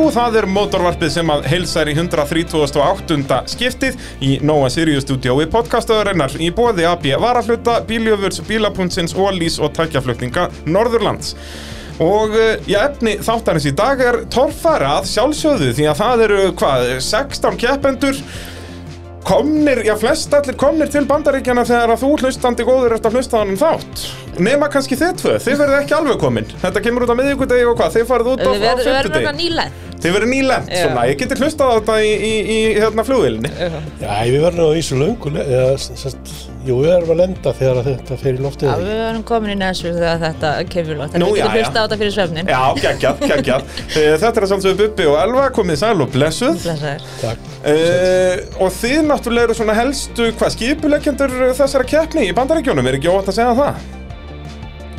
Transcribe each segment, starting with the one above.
og það er mótorvarpið sem að heilsar í 138. skiptið í Nóa Sirius stúdiói podcastöðurinnar í bóði AB Varafluta, Bíljöfurs, Bílapuntsins, Ólís og tækjaflutninga Norðurlands. Og eh, já, efni þáttarins í dag er torfara að sjálfsögðu því að það eru hvað, 16 keppendur komnir, já flest allir komnir til bandaríkjana þegar að þú hlustandi góður ert að hlusta á hann þátt nema kannski þið tvö, þið verðið ekki alveg komin þetta kemur út á miðvíkudegi og hvað, þið farið út á, Við á verðum eitthvað fimmtudegi nýlend þið verðið nýlend, Já. svona, ég geti hlustað á þetta í, í, í hérna flugvillinni Já, við verðum á ísu löngu, le- eða, sem sagt, jú, við verðum að lenda þegar að þetta fer í loftið. Já, eða við ekki? verðum komin í Nashville þegar þetta kemur lótt Þannig Nú, við já, getum já. hlusta á þetta fyrir svefnin já, geggjað, geggjað Eh, þetta er að sjálfsögðu Bubbi og Elva, komið sæl og blessuð Blessaður. Takk. Uh, og þið náttúrulega eru svona helstu hvað skipuleggjendur þessara keppni í bandaríkjónum, er ekki óvægt að segja það?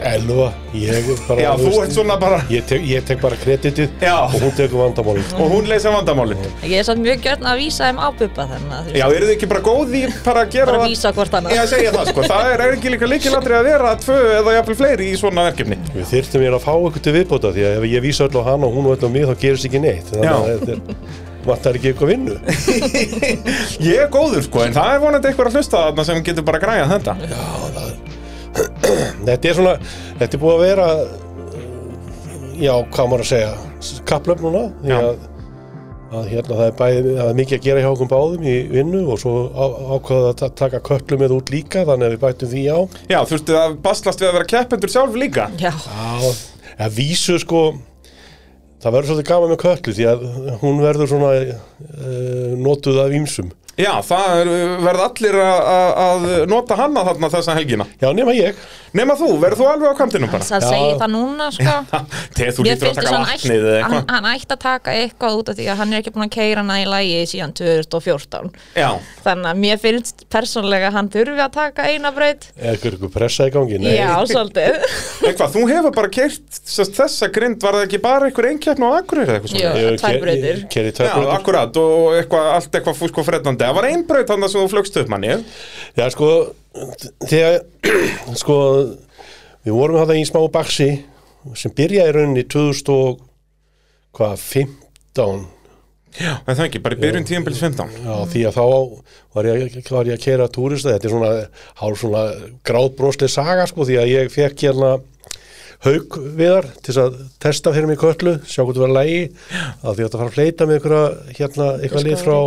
Elva, ég er bara, Já, þú veist, ert svona bara Ég tek, ég tek bara kreditið Já. og hún tekur vandamálið. og hún leysa vandamálin Ég er samt mjög gjörn að vísa þeim á bubba þannig að þú Já, veist, eru þið ekki bara góð í bara að gera bara það? vísa hvort Ég annað segja það sko, það er ekki líka líkilatri að vera tvö eða jafnvel fleiri í svona verkefni Við þyrftum ég að fá ykkur til viðbóta því að ef ég vísa öll á hana og hún og öll á mig þá gerist ekki neitt. Þannig að Já. þetta er, vantar ekki ykkur vinnu. Ég er góður sko, en það er vonandi einhver að hlusta þarna sem getur bara græjað þetta Þetta er svona, þetta er búið að vera, uh, já, hvað maður að segja, kapplöf núna. Því Já. að, að hérna það er bæði, það er mikið að gera hjá okkur báðum í vinnu og svo á, ákvaða að ta- taka köllum með út líka, þannig að við bætum því á. Já, þurftu að baslast við að vera keppendur sjálf líka Já, Já, að vísu sko, það verður svolítið gaman með köllu því að hún verður svona uh, notuð af ímsum. Já, það er, verð allir að- að að nota hanna þarna þessa helgina Já, nema ég. Nema þú, verð þú alveg á kantinum bara? það Já. segir það núna sko Þegar þú lítur Mér að finnst taka þess að hann vatnið eða ætti- hann, eitthvað hann ætti að taka eitthvað út af því að hann er ekki búin að keira hana í lægi síðan 2014 Já, Þannig að mér finnst persónlega að hann þurfi að taka eina braut Er ykkur ykkur pressa í gangi? Nei. Já, svolítið eitthvað, þú hefur bara keirt þessa grind, var það ekki bara einhver einkeppn á Akureyri eða eitthvað svona? Jú, Ég- tvær ég- brautir ég- Keri tvær Já, brautir. sko. akkurat, og eitthvað, allt eitthvað fúsk og frettandi Það var einn braut þannig sem þú flögst upp manni Já, sko, þegar, sko, við vorum þetta í smá baxi sem byrjaði í rauninni 2015 En það ekki, bara í byrjun tíðanbils 15 Já, því að þá var ég, var ég að kera túrista, þetta er svona, hálf svona gráðbroslega saga sko, því að ég fekk hérna haug viðar til þess að testa fyrir mig köllu, sjá hvort það var lægi, að því að þetta fara að fleita með einhverja, hérna, eitthvað lið frá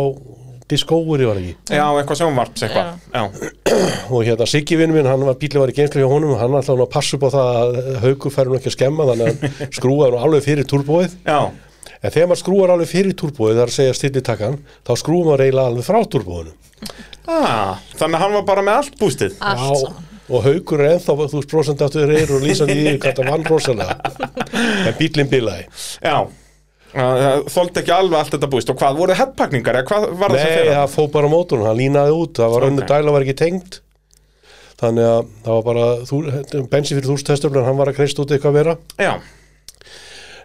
Discovery var ekki. Já, eitthvað sjónvarps eitthvað Já, Og hérna Siggi vinn minn, hann var bílið var í geimslu hjá honum, hann ætlaði nú að passa upp á það að haugur færi nú ekki að skemma, þannig að skrúaði nú alveg fyrir túrbóið. já, En þegar maður skrúar alveg fyrir túrbóið, þar að segja stillitakkan, þá skrúar maður eiginlega alveg frá túrbóinu. ah, þannig að hann var bara með allt bústið Allt Já, saman og haugur er ennþá þú veist brosandi áttu reyður og lýsandi í því hvað það vann rosalega en bílinn bilaði Já, þóldi ekki alveg allt þetta búst Og hvað, voru headpakningar eða hvað var það sem nei, fyrir? það fó bara mótorn, hann línaði út það var Ok. önnu dæla var ekki tengd þannig að það var bara þú- bensin fyrir þúrstöðstöflun, hann var að kreist út eitthvað vera Já,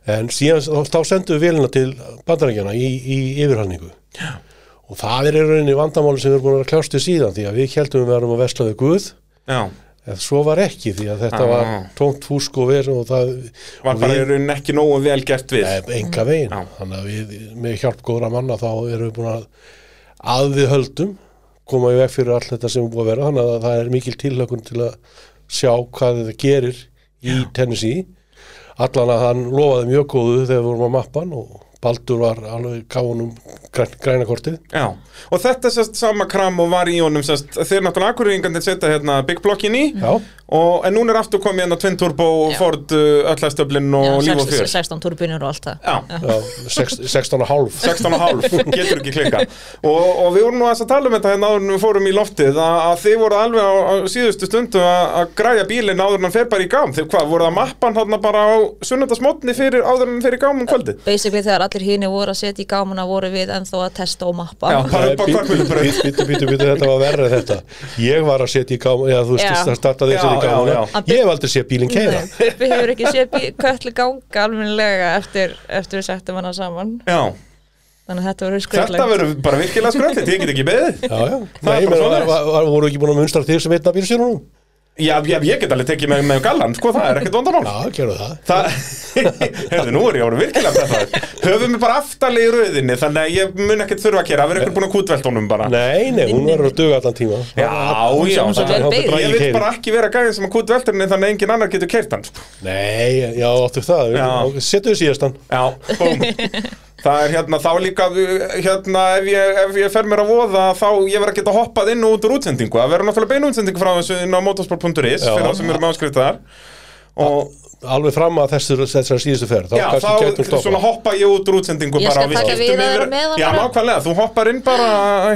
en síðan þá- þá sendum við vélina til bandarækjana í, í yfirhalningu Já. og það er í rauninni vandamáli sem við erum búin að vera að kljást við síðan því að við heldum við verðum að vesla við Guð já, En svo var ekki því að þetta Ah. var tómt fúsk og verð og það var og bara við- í raunin ekki nógu vel gert við Nei, enga veginn. Já. Þannig að við, með hjálp góðra manna, þá erum við búin að að við höldum, koma í veg fyrir allt þetta sem er búið að vera. Þannig að það er mikil tilhökun til að sjá hvað þetta gerir í Tennessee. Allan að hann lofaði mjög góðu þegar við vorum á mappan og Baldur var alveg gáðunum græn, grænakortið. Já, og þetta sérst sama kram og var í honum sérst, þeir náttúrulega akkurýringandi setja hérna Big Blockin í Já, og, en núna er aftur komið hérna Twin Turbo og Já. Ford uh, öllastöflin og Já, líf og 16 fjör 16 turbinur og allt það Já, já sex, 16 og hálf. 16 og hálf, getur ekki klikka og, og við vorum nú aðeins að tala um þetta hérna áður en við fórum í loftið að, að þið voru alveg á, á síðustu stundu að, að græja bílinn áður en hann fer bara í gám þegar hvað, voru það mappan þarna bara á sunnundasmotni fyrir áður en hann fer í gám um kvöldið Basically þegar allir hini voru að setja í gámuna voru við ennþó að testa og mappa Já. Bara upp á Kormúlubraut. Býtu, býtu, býtu, þetta var verra en þetta Ég var að setja í gáma, já þú Já. veist, það startaði Já, að setja í já, gáma já. Að Ég hef aldrei séð bílinn keira Við hefur ekki séð bí- köllu ganga almennilega eftir, eftir við settum hana saman Já, Þannig að þetta voru þetta skröldlega verður bara virkilega skröldið, ég get ekki beðið Já, já, Það Nei, er bara menn, svoleiðis. var, var, voru ekki búin að munstra þig sem einn af bílstjórunum? Já, ég, ég get alveg tekið með, með gallan, sko, það er ekkert vandamál. Já, gerðu það. Það, hefðu, nú er ég orðið virkilega peppaður. Höfum við bara aftalið í rauðinni, þannig að ég mun ekkert þurfa að kera, það verður ykkur búin að kútveltónum bara. Nei, nei, hún verður að duga allan tíma. Já, já, hún sé það- vel beygð. ég vil bara ekki vera gæðin sem að kútveltónum þannig að engin annar getur kert hann, sko. Nei, já, áttu það. Já. Settu við síðastan. Já, búm Það er hérna, þá líka hérna, ef, ég, ef ég fer mér að voða þá ég verð að geta hoppað inn og út úr útsendingu það verður náttúrulega beinu útsendingu frá þessu inn á motorsport.is Já. fyrir það sem eru með áskrift þar og Alveg fram að þessar, þessar síðustu fer. Þá já, kannski þá gætum stoppa. svona hoppa ég út úr útsendingu Ég bara skal og við taka skiptum við að yfir- vera með hann Já, bara. nákvæmlega, þú hoppar inn bara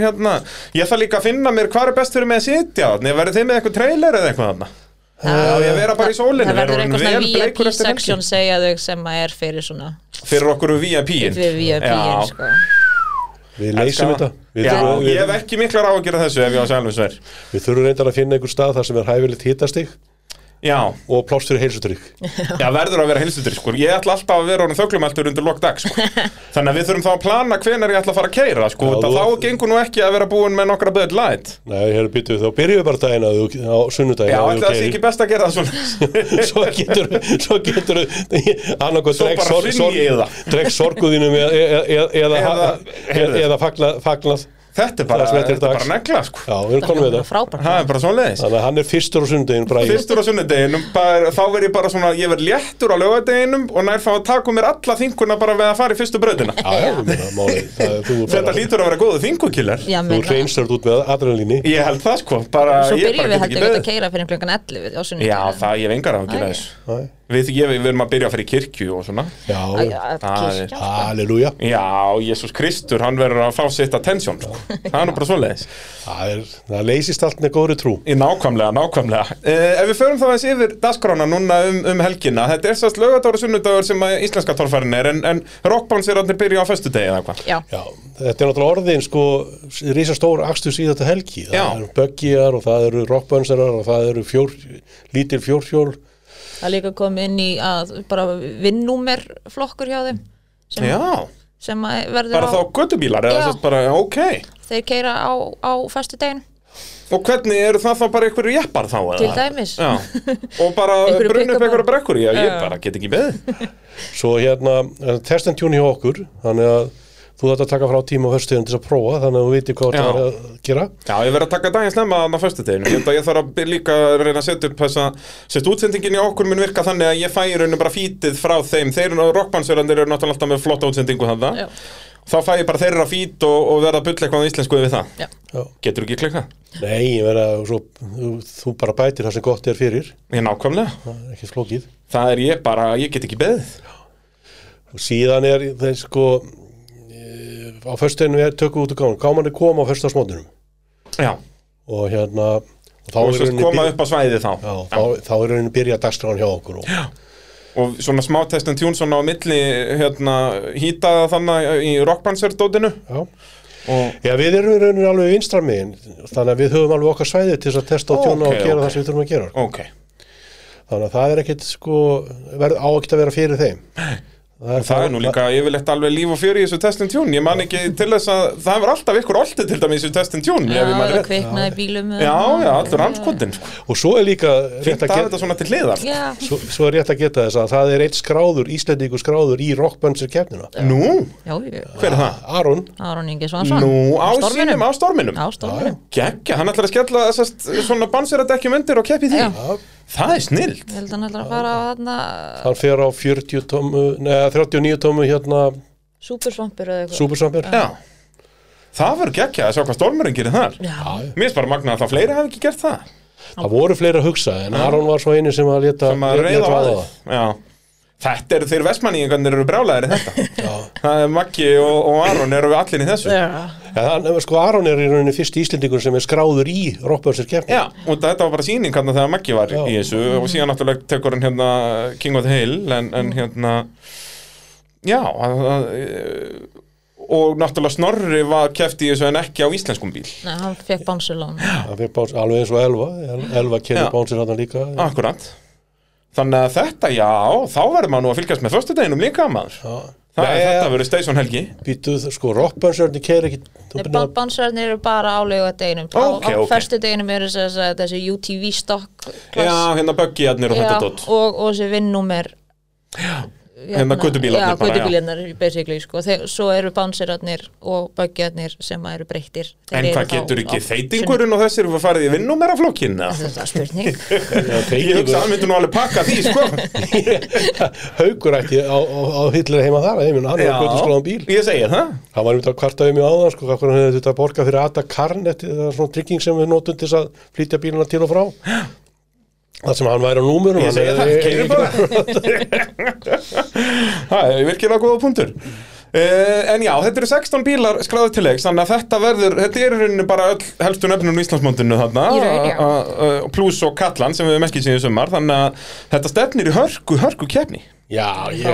hérna, ég þarf líka að finna mér hvað er best fyrir mig að sitja þarna, verður þið með eitthvað trailer eða eitthvað þarna Já, ég vera bara í sólinu Það verður orðinn eitthvað svona vel bleikur eftir helgi. VIP-section segja þau sem að er fyrir svona Fyrir okkur um VIP-in Fyrir VIP-in sko Við Elska. leysum þetta. Við, Já, þurfum, ég hef við, ekki miklar ágjörð þessu ef ég á sælum sver við þurfum reyndar að finna einhver stað þar sem er hæfilegt hittastig Já, og pláss fyrir heilsutrygg. já, verður að vera helstutur sko. Ég ætla alltaf að vera honum þöglumæltur undir lokdag sko. Þannig að við þurfum þá að plana hvenær ég ætla að fara að keira sko. Já, já, þú- Þá gengur nú ekki að vera búin með nokkra Bud Light Nei, hér býtu þá byrjum við bara daginn að þú, á sunnudaginn Já, að ætla það sé ekki best að gera það svona svo getur svo getur annarkoð Svo dreg, bara sor, hrynji sor, í það. dreg sorguðinum eða, eða, eða, eða, Eða- eða, eða fagnað, fagnað Þetta er bara, Það sem þetta er þetta er bara dags. negla sko. Já, við erum konum við Það er þetta frábært Það er bara svona leiðis Þannig að hann er fyrstur á sunnudeginum bræði Fyrstur á sunnudeginum, bara- þá verð ég bara svona, ég verð léttur á laugardeginum og nær þá að taka mér alla þinguna bara við að fara í fyrstu brautina. Já, já, ég meina, máli, það, þú, er Þetta bara, lítur að vera góðu þingukillar. Já, þú menn reynst þér út með adrenalíni Ég held það sko, bara, Svo ég bara byrjum við get ekki heldur við að beðið. keira fyrir klukkan 11 á sunnudaginn. Já, það ég vengar af ekki Æ. næs Nei. Við, ég, við erum að byrja að fara í kirkju og svona Æ, Já, að Það er- kirkja, sko. halleluja Já, Jésús Kristur, hann verður að fá sitt attention sko. Það er nú bara svoleiðis það, er- það leysist allt með góðri trú Í nákvæmlega, nákvæmlega eh, Ef við förum þá eins yfir dagskrána núna um, um helgina Þetta er sérst lögadagur og sunnudagur sem að íslenska torfærin er En, en rockbánsirarnir byrja á föstudegi eða hvað Já, Já, þetta er náttúrulega orðin sko risastór akstur síðan þetta helgi það Já. eru böggjar og það eru rockbönsarar og það eru fjór, lítil fjórhjól það er líka komið inn í að bara vinnúmer flokkur hjá þeim sem, Já, sem að verður bara á, þá göttubílar eða Já. sérst bara, ok þeir keira á, á fæstu degin Og hvernig eru það þá bara einhverju jeppar þá eða? til dæmis Já, og bara Einhverjir brunni upp pick-up- einhverju brekkur Já, ég Já. bara get ekki beðið Svo hérna, eh, test and tune hjá okkur, þannig að þú þarft að taka frá tíma og hörstöðum til þess að prófa, þannig að þú veitir hvað Já. það er að gera. Já, ég verð að taka daginn snemma þannig á föstudeginu Ég, held að ég þarf að by- líka að reyna að setja upp þessa Sett útsendingin í okkur mun virka þannig að ég fæ í rauninu bara fítið frá þeim Þeir og rockbandsverðandir eru náttúrulega alltaf með flotta útsendingu þannig Já. Þá fæ ég bara þeirra fít og, og verða að bulla eitthvað á íslensku yfir það Já. Já. Getur ekki klikka? Nei, ég verða, svo, þú, þú bara bætir það sem gott er fyrir, Ég nákvæmlega það er ekki flókið. Það er ég bara, ég get ekki beðið Og síðan er þeir sko, eh, á förstöðinu við tökum við út úr gáman, gáman er koma á förstöðasmótunum Já, og hérna, og þá og er svo rauninni koma byrja- upp á svæði þá Já, þá, þá er rauninni byrja dagskráin hjá okkur og Og svona smá testin tjún svona á milli hérna, hýtaða þannig í rockbandsverðdótinu Já. Og Já, við erum í rauninni alveg vinstra megin, þannig að við höfum alveg okkar svæði til þess að testa og Ó, tjóna ok, og gera ok. það sem við þurfum að gera. sko. ok, Þannig að það er ekkit sko, verð, á ekkit að vera fyrir þeim. Það Það er nú líka yfirleitt alveg líf og fjör í þessu testin tjún Ég man ekki til þess að það hefur alltaf ykkur oltið til dæmi í þessu testin tjún Já, ef ég man það rétt. kviknaði í bílum eða- Já, já, allur anskotin sko. Og svo er líka rétt Fint að að, hafa geta, þetta svona til hliðar Já, svo, svo er rétt að geta þess að það er eitt skráður, íslendingu skráður í rockbönnsir keppnina. Nú, já, já. hver er það? Aron, Aron Ingi Svansson Nú, á Storminum. sínum, á storminum Á storminum, Gekja, hann ætlar að skella þessast svona bansir að dekkjum undir og keppi því Já. Það er snilt ég held að hann ætlar að fara á þarna hann fer á 40 tómu, neða 39 tómu hérna Súpersvampur eða eitthvað Supersamper. Já Það verður gekja að sjá hvað stormurinn gerir þar Já, Mér er bara magna að það fleiri hafi ekki gert það Það voru fleiri að hugsa en Aron var svo einu sem að leta sem að lét- lét reyða á vaða aðeins Já Þetta eru þeir vestmanningarnir eru brjálæðir í þetta Já. Það er Maggi og, og Aron eru allir í þessu já. En hann, sko, Aron er í rauninni fyrst íslendingur sem er skráður í rockbönnsir keppnina. Já, og þetta var bara sýning hérna þegar Maggi var í þessu og síðan náttúrulega tekur hann hérna King of the Hill en, en hérna já að, að, e, og náttúrulega Snorri var keft í þessu en ekki á íslenskum bíl Nei, hann fekk bánsulón Hann fyrir báns alveg eins og Elva, El- Elva Já. kemur bánsir hann líka. Mm. Akkurat Þannig að þetta, já, þá verður maður nú að fylgjast með föstudeginum líka maður Já. Það Nei, er þetta ja. verið Steison Helgi býtuð, sko, Robbansjörni keir ekki Nei, Bánsarnir eru bara á laugadeginum Ok, á, á ok. föstudeginum eru þessi, þessi UTV stock Já, hérna böggiðarnir og já, þetta og, dótt og þessi vinnúmer Hérna götubílarnir já, bara, já. gödubílarnir basically sko. Þeir, svo eru bánsarnir og böggiðarnir sem eru breyttir En Þeir hvað eru þá getur á- ekki á- þeitingurinn og þessir fyrir að farið í vinnumera flokkin Þetta er bara spurning Ég hugsa að hann myndi nú alveg pakka því, sko haugur ekki á, á, á hillir heima þar heiminn, hann var gott skoðan bíl Ég segi það hann var um þetta að kvarta um í áðan sko, hvað hann hefði þetta að borga fyrir Ata Karnet það er svona trygging sem við notum til þess að flytja bíluna til og frá það sem hann væri á númurum Ég hann segi það, hefði- keirir bara Það er virkilega góða punktur Uh, en já, þetta eru 16 bílar skráðu til leiks þannig að þetta verður, þetta er í rauninni bara öll helstu nöfnum í Íslandsmóndinu þarna Í raun, já. a- a- a- pluss og Kallan sem við mekkið síðan í sumar þannig að þetta stefnir í hörku, hörku keppni já, ég,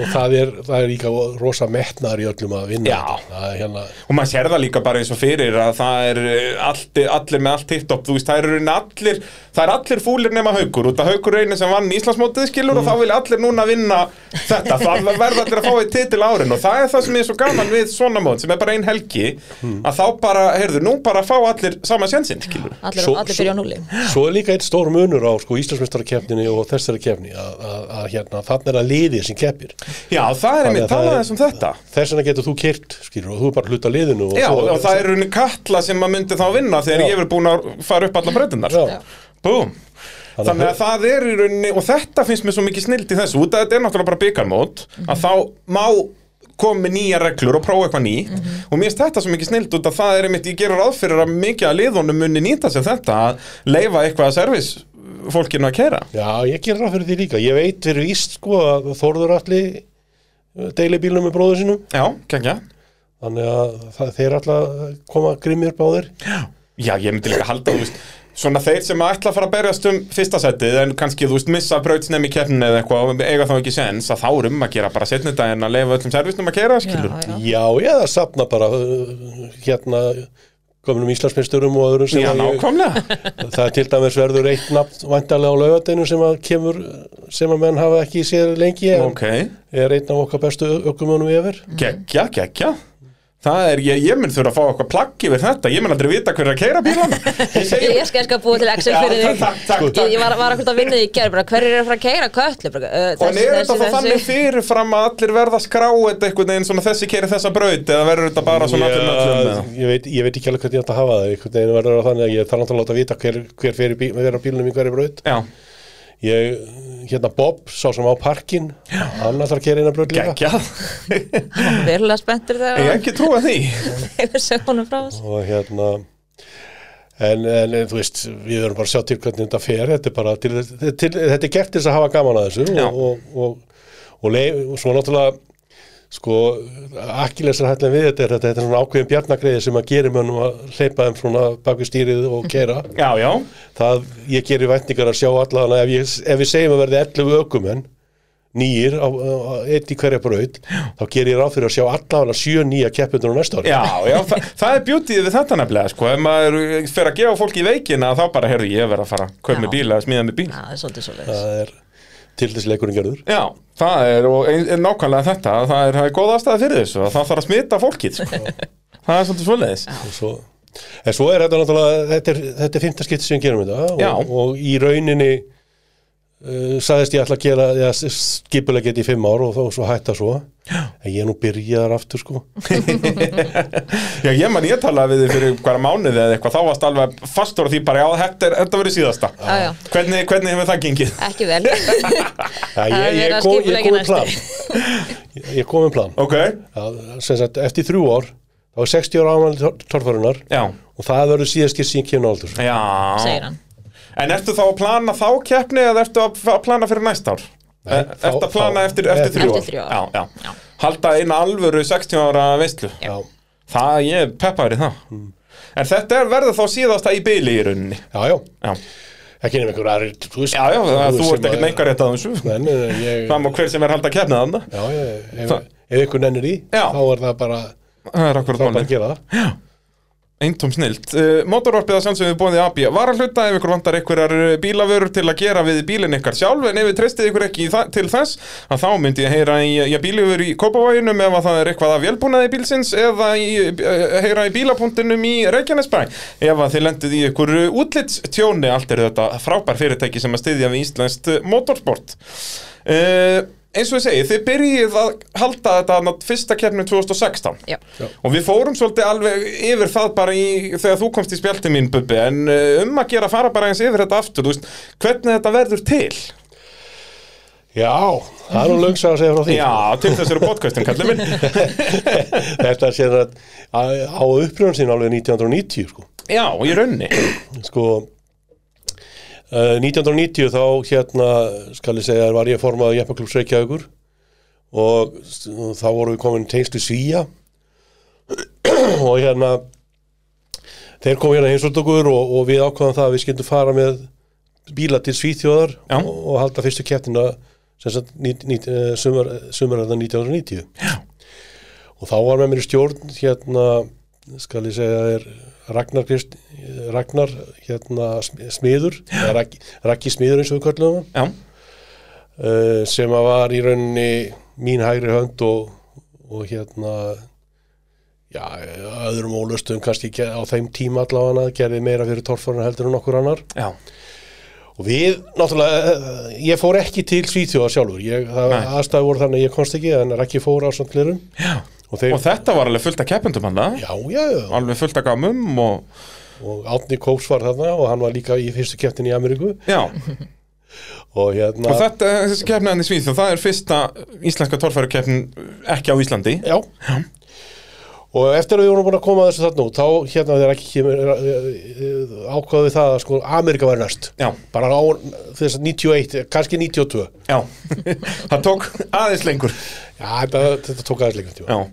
og það er, það er líka rosa metnar í öllum að vinna Já. þetta. það er hérna og maður sér það líka bara eins og fyrir að það er eh, allt, allir með allt hitt upp þú veist, það eru í rauninni allir það er allir fúlir nema haukur, út af haukur er einu sem vann Íslandsmótið skilur og Mm. þá vilja allir núna vinna þetta, það verða allir að fá eitt titil árin og það er það sem er svo gaman við svona mót sem er bara ein helgi Mm. að þá bara, heyrðu, nú bara fá allir sama sjansinn, skilur Allir, Svo- allir svo- byrja á núli Svo er líka eitt stór munur á sko, Íslandsmestarakefninni og þessari kefni að, að, að hérna, þannig er að liðið sem keppir já, það er Þannig að einmitt, það talaði er- þess um þetta þess vegna getur þú kyrt skilur, og þú er bara hluta liðinu og já, svo, og það er í rauninni Katla sem maður myndi þá vinna þegar Já. ég er búin að fara upp alla breytinnar Já. Búm Þannig að það er í rauninni og þetta finnst mér svo mikið snild í þessu út að þetta er náttúrulega bara byggarmót að þá má koma með nýja reglur og prófa eitthvað ný Mhm. og mér finnst þetta svo mikið snild út að það er einmitt, ég gerur aðfyrir að mikið að liðunum muni nýta sér þetta að leifa eitthvað að servis fólkinu að kæra Já, ég gerir ráð fyrir því líka ég veit fyrir víst sko að Þórður allir deili bílnum með bróður sínum Já, kengja þannig að það, þeir allar koma grimmir báðir Já, ég myndi líka halda, þú veist Svona þeir sem ætla að fara að berjast um fyrsta setið en kannski, þú veist, missa brautsnefn í keppninu eða eitthvað og eiga þá ekki sens að þá er um að gera bara setni daginn að leifa öllum servisnum að kæra, Já, skilur já. Já, ég það sapna bara uh, hérna kominum Íslandsmeisturum og öðrum sem Já, að ég, nákvæmlega það er til dæmis verður eitt nafn vandarlega á laugadeinu sem að kemur sem að menn hafa ekki sér lengi en Ok er einn af okkar bestu ökumönum yfir Gekja, gekja Það er, ég, ég mun þurfa að fá eitthvað plagg yfir þetta Ég mun aldrei vita hver er að keira bílana Ég segi Ég skal, skal búa til Excel Já, fyrir þig takk, takk, Sko, takk, Ég, ég var, var akkur að vinna því í gerð Hverjir eru að fara að keira köll Og en er þetta þá þannig fyrirfram að allir verða að skrá þetta einhvern veginn svona þessi keiri þessa braut eða verður þetta bara svona allir möllum með það? ég, veit, ég veit ekki alveg hvernig ég ætti að hafa það einhvern veginn verður það þannig að ég þarf náttúrulega að láta vita hver, hver fyrir bíl, hver á bílunum í hverju braut Já, ég, hérna Bob, sá sem á parkin hann ætlar að kera inn að braut líka gegja Verulega spenntur Ég er þegar ekki trúa því Þegar segja honum frá þessu og hérna En, en þú veist, við verðum bara að sjá til hvernig þetta fer, þetta er bara til, til, til, þetta er gert til þess að hafa gaman að þessu Já. og, og, og, og, leif, og svo náttúrulega sko, akkilesar hættilega við þetta er þetta, þetta er svona ákveðin bjarnagreiði sem að gera mönnum að hleypa þeim svona baku stýrið og keira, Já, já, það ég gerir væntingar að sjá allan að ef, ég, ef við segjum að verði 11 ökumenn nýjir, á, á, á, eitt í hverja braut þá gerir ég ráð fyrir að sjá allan að sjö nýja keppundur á næsta ári já, já það, það er bjútið við þetta nefnilega sko Ef maður fer að gefa fólki í veikina þá bara, heyrðu, ég verð að fara að kaupa með Já. bíl eða smíða með bíl Já, það er svolítið svolítið það er til þess leikurinn gerður Já, það er, og ein, er nákvæmlega þetta að það er, það er góð afstæða fyrir þessu að það þarf að smita fólkið sko. það er svolítið svoleiðis og svo, en svo er þetta náttúrulega þetta er, þetta er fymta skipti sem við gerum þetta Já. og, og í rauninni uh, sagðist ég ætla að gera ja, skipulega geti í fimm ár og þá svo hætta svo Já. en ég er nú byrjaðar aftur sko Já, ég man ég talaði við þig fyrir hverja mánuði eða eitthvað, þá varst alveg fastur á því bara, já, þetta, er, þetta verið síðasta Já, já. Hvernig, hvernig hefur það gengið? Ekki vel ja, Það er ég, verið ég, að kom, ég skipuleggja kom næstu. með plan ég, ég kom með plan Ok, að, sem sagt, eftir þrjú ár þá er 60 ára ámæli torfarinnar já, og það verður síðast skipt sem ég kemur aldur já Segir hann En ertu þá að plana þá keppni eða ertu að að plana fyrir næst ár? Nei, Er- þá- ertu að plana þá- eftir, eftir, eftir þrjú ár? þrjú ár. Já, já, Já. Halda eina alvöru 60 ára veistlu Já. Það, ég er peppaður í það En þetta er verður þá síðasta í byli í rauninni Já, já, Já, ekki nefnir einhver aðrir þú veist- já, já það, þú sem ert ekkert að- neikar rétt að þessu Nei, nei, nei, ég- Það má hver sem er halda að kefna þarna Já, já, ef, Það- ef ykkur nennir í Já. þá er það bara, Það er akkurat það er bara að málið gera það Eintóm snilt. Uh, Motorvarpið að sjálfsögum við bóðið AB var að hluta ef ykkur vantar einhverjar uh, bílavörur til að gera við bílinn ykkar sjálf en ef við treystið ykkur ekki í það, til þess að þá myndi ég heyra í, í bíljöfur í Kópavóginum ef að það er eitthvað að vélbúnaði bílsins eða í, uh, heyra í bílapunktinum í Reykjanesbæ ef að þið lendið í ykkur uh, útlitstjóni allt er þetta frábær fyrirtæki sem að styðja við íslenskt uh, motorsport. Uh, eins og ég segi, þið byrjið að halda þetta þarna fyrsta keppnum 2016 Já. Já. og við fórum svolítið alveg yfir það bara í, þegar þú komst í spjaldi mín bubbi en uh, um að gera að fara bara eins yfir þetta aftur þú veist, hvernig þetta verður til Já, það er nú lögst að segja frá því. Já, til þess eru podcastin kallið minn Þetta sé að að- á uppröðum sín alveg 1990 sko. Já, og í raunni sko uh, 1990 þá hérna skal ég segja var ég formaði Jeppaklubs Reykjavíkur og s- þá voru við komin tengslu svíja og hérna þeir komu hérna heimsótt okkur og, og við ákvaðum það að við skyldum fara með bíla til Svíþjóðar Já. og, og halda fyrstu keppnina sem sagt ní- ní- eh, sumar, sumaröðan 1990 Já. og þá var með mér í stjórn hérna skal ég segja er Ragnar, Krist, Ragnar hérna sm- smiður eða Raggi, Raggi smiður eins og við köllum hann Já, uh, sem að var í rauninni mín hægri hönd og, og hérna já, öðrum ólustum kannski ge- á þeim tíma allavega gerði meira fyrir torfarnar heldur en okkur annar já, og við, náttúrulega, eh, ég fór ekki til Svíþjóða sjálfur, ég, það Nei. aðstæði voru þannig að ég komst ekki, en Raggi fór á samt lirum já og þeir, Og þetta var alveg fullt af keppendum hann það já, já, já, Alveg fullt af gamum og og Átni Kóps var þarna og hann var líka í fyrstu keftin í Ameríku Já, og hérna, og þetta, eh, þessi keppni hann í Svíþjóð, það er fyrsta íslenska torfæru ekki á Íslandi já. og eftir að við vorum búin að koma að þessu þarna út, þá hérna þeir ekki kemur ákvaðu við það að sko Ameríka var næst Já, bara á þess að 91, kannski 92 já Það tók aðeins lengur já, þetta, þetta tók aðeins lengur tíma Já,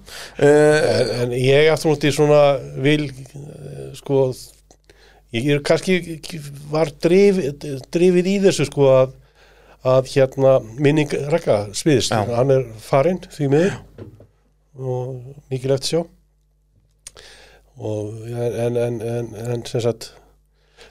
uh, en, en ég aftur út í svona vil eh, sko ég er kannski var drif, drifið í þessu sko að, að hérna minning Rekka smiðist, Já. hann er farinn því miður og mikil eftir sjá og en, en, en, en sem sagt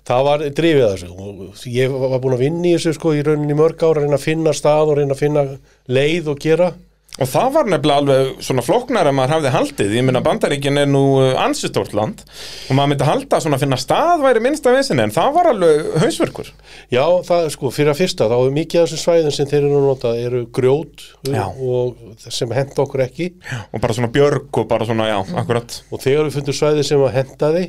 það var drifið að þessu og ég var búin að vinna í þessu sko í rauninni í mörg ára, reyna að finna stað og reyna að finna leið og gera Og það var nefnilega alveg svona flóknar að maður hafði haldið, ég meina bandaríkin er nú ansistórt land og maður myndi halda að svona finna stað væri minnsta vissinni en það var alveg hausverkur Já, það er sko, fyrir að fyrsta þá er mikið af þessum svæðin sem þeir eru að nota eru grjót um, Já. og sem henda okkur ekki og bara svona björg og bara svona, já, akkurat og þegar við fundum svæði sem að henda því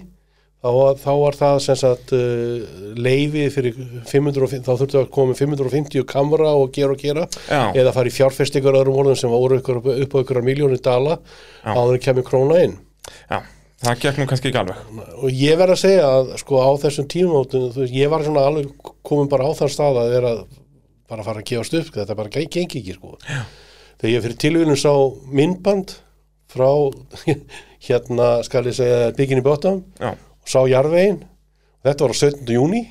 þá, var- þá var það sem sagt uh, leifi fyrir 550, þá þurftu að koma með 550 kamra og gera og gera Já. eða fara í fjárfestingar öðrum orðum sem voru ykkur, upp á ykkur miljónu dala Já. áður en kemur króna inn Já, það gekk nú kannski ekki alveg og ég verð að segja að sko á þessum tímamótum, þú veist, ég var svona alveg komin bara á þann stað að vera bara að fara að gefast upp, þetta bara geng, gengi ekki sko. Já. Þegar ég fyrir tilvíðin sá myndband frá hérna, skal ég segja bygginni bóttam, Já, og sá jarðvegin þetta var á 17. júni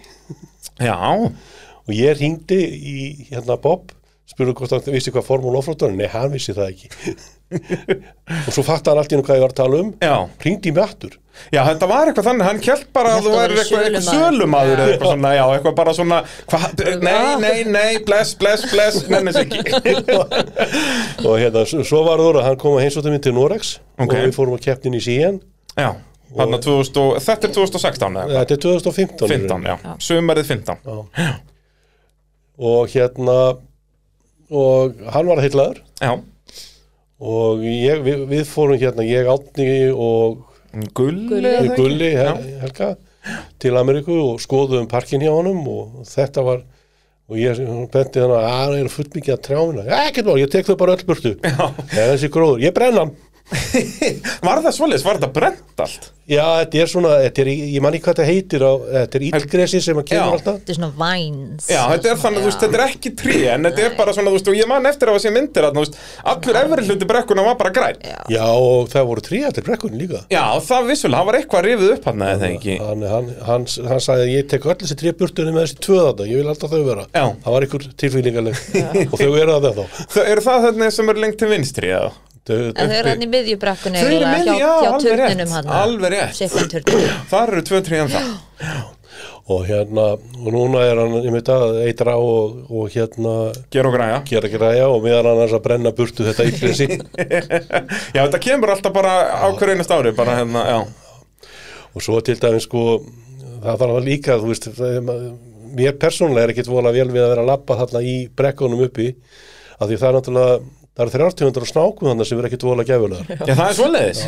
já, og ég hringdi í hérna Bob spurði hvort hann vissi hvað formúl ofróttur nei, hann vissi það ekki og svo fatta hann allt í enn hvað ég var að tala um já hringdi í mig aftur Já, þetta var eitthvað þannig, hann kjælt bara að Hélt þú að væri væri eitthvað, eitthvað sölumaður. sölumadur eða eitthvað svona, já, eitthvað bara svona hva, Nei, nei, nei, bless, bless, bless, nennis ekki og hérna, s- svo var það að hann kom að heimsóta minn til Norex Ok. og við fórum að keppnin í síðan Já, þarna 2000, og- þetta er 2016 eða? þetta er 2015 í raun. 15, já, sumarið 15 og hérna og hann var heillaður Já, og ég, við, við fórum hérna, ég átni og Gulli Gulli. eða ekki? Gulli hel, Helga til Ameríku og skoðum parkin hjá honum og þetta var og ég hún benti hann að það eru fullt mikið að trjána ekkert mál, ég tek þau bara öll burtu eða þessi gróður, ég brenn hann Var það svoleiðis, var þetta brent allt? já, þetta er svona, þetta er, í- ég man ekki hvað þetta heitir á, þetta er ílgresi sem að Já. kemur alltaf Þetta er svona vines Já, þetta er þannig, þú veist, þetta er ekki tré en þetta er bara svona, þú veist, og ég man eftir að það sé myndir að, þú veist, allur efri hluti brekkuna var bara græn Já, Já, og það voru tríallir brekkunni líka það vissulega, það var eitthvað rifið upp hann eða ekki hann, hann, hann, hann sagði ég tek öll þessi trí burtunni með þessi tvöðanda ég vil alltaf þau vera Já. það var ykkur tilfýlingaleg og þau eru það þá Þau, Eru það þarna sem eru lengt til vinstri eða? En þau eru hann í miðjubrekkunni eiginlega, miðju, hjá, hjá alveg rétt, turninum hann alveg rétt. Sikkan turninum Þar eru tvö tríðan það. og hérna, og núna er hann ég veit að eitra og, og hérna Ger og græja. gera græja og meðan annars að brenna burtu þetta íklinsi Já, þetta kemur alltaf bara á hverju einast ári, bara hérna, já. og svo til dæmis sko það þarf að líka, þú veist það er ma- mér persónulega er ekkit vola vel við að vera að labba þarna í brekkunum uppi af því það er náttúrulega, það eru 300 snákum þarna sem er ekkit vola gefulegar Já, það er svoleiðis.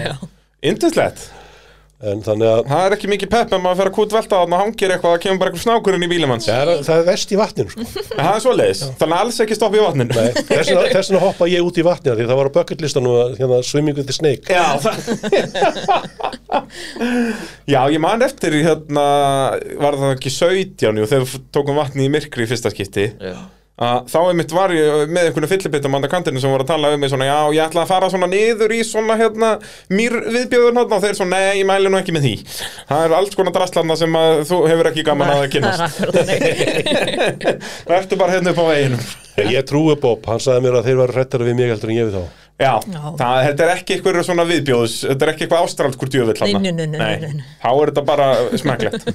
Indislegt. en þannig að Það er ekki mikið pepp en maður fer að kútvelta að maður hangir eitthvað það kemur bara eitthvað snákurinn í bílum hans. það er, það er vest í vatninu sko En það er svoleiðis. Þannig að alls ekki stoppa í vatninu. Nei, þess vegna- þess vegna hoppa ég út í vatnið því það var á bucketlistanum hérna, swimming with the snake Já, það Já, ég man eftir í hérna, var það ekki 17 jú, þegar við tókum vatni í myrkri í fyrsta skipti að þá einmitt var ég með einhvern fyllibittum á kantinu sem voru að tala um mig svona, já, ég ætla að fara svona niður í svona hérna, mýr viðbjöður hérna og þeir svona, nei, ég mæli nú ekki með því það er alls konar drastlanda sem að þú hefur ekki gaman að Það er kynast akkur þannig Vertu bara hérna upp á veginum ég trúi Bob, hann sagði mér að þeir var hrættara við mig heldur en ég við þá Já, Já. það, þetta er ekki eitthvað svona viðbjóðs, þetta er ekki eitthvað ástraldkur djöfull þarna. Nei, nei, nei, nei, nei, nei. Þá er þetta bara smekklegt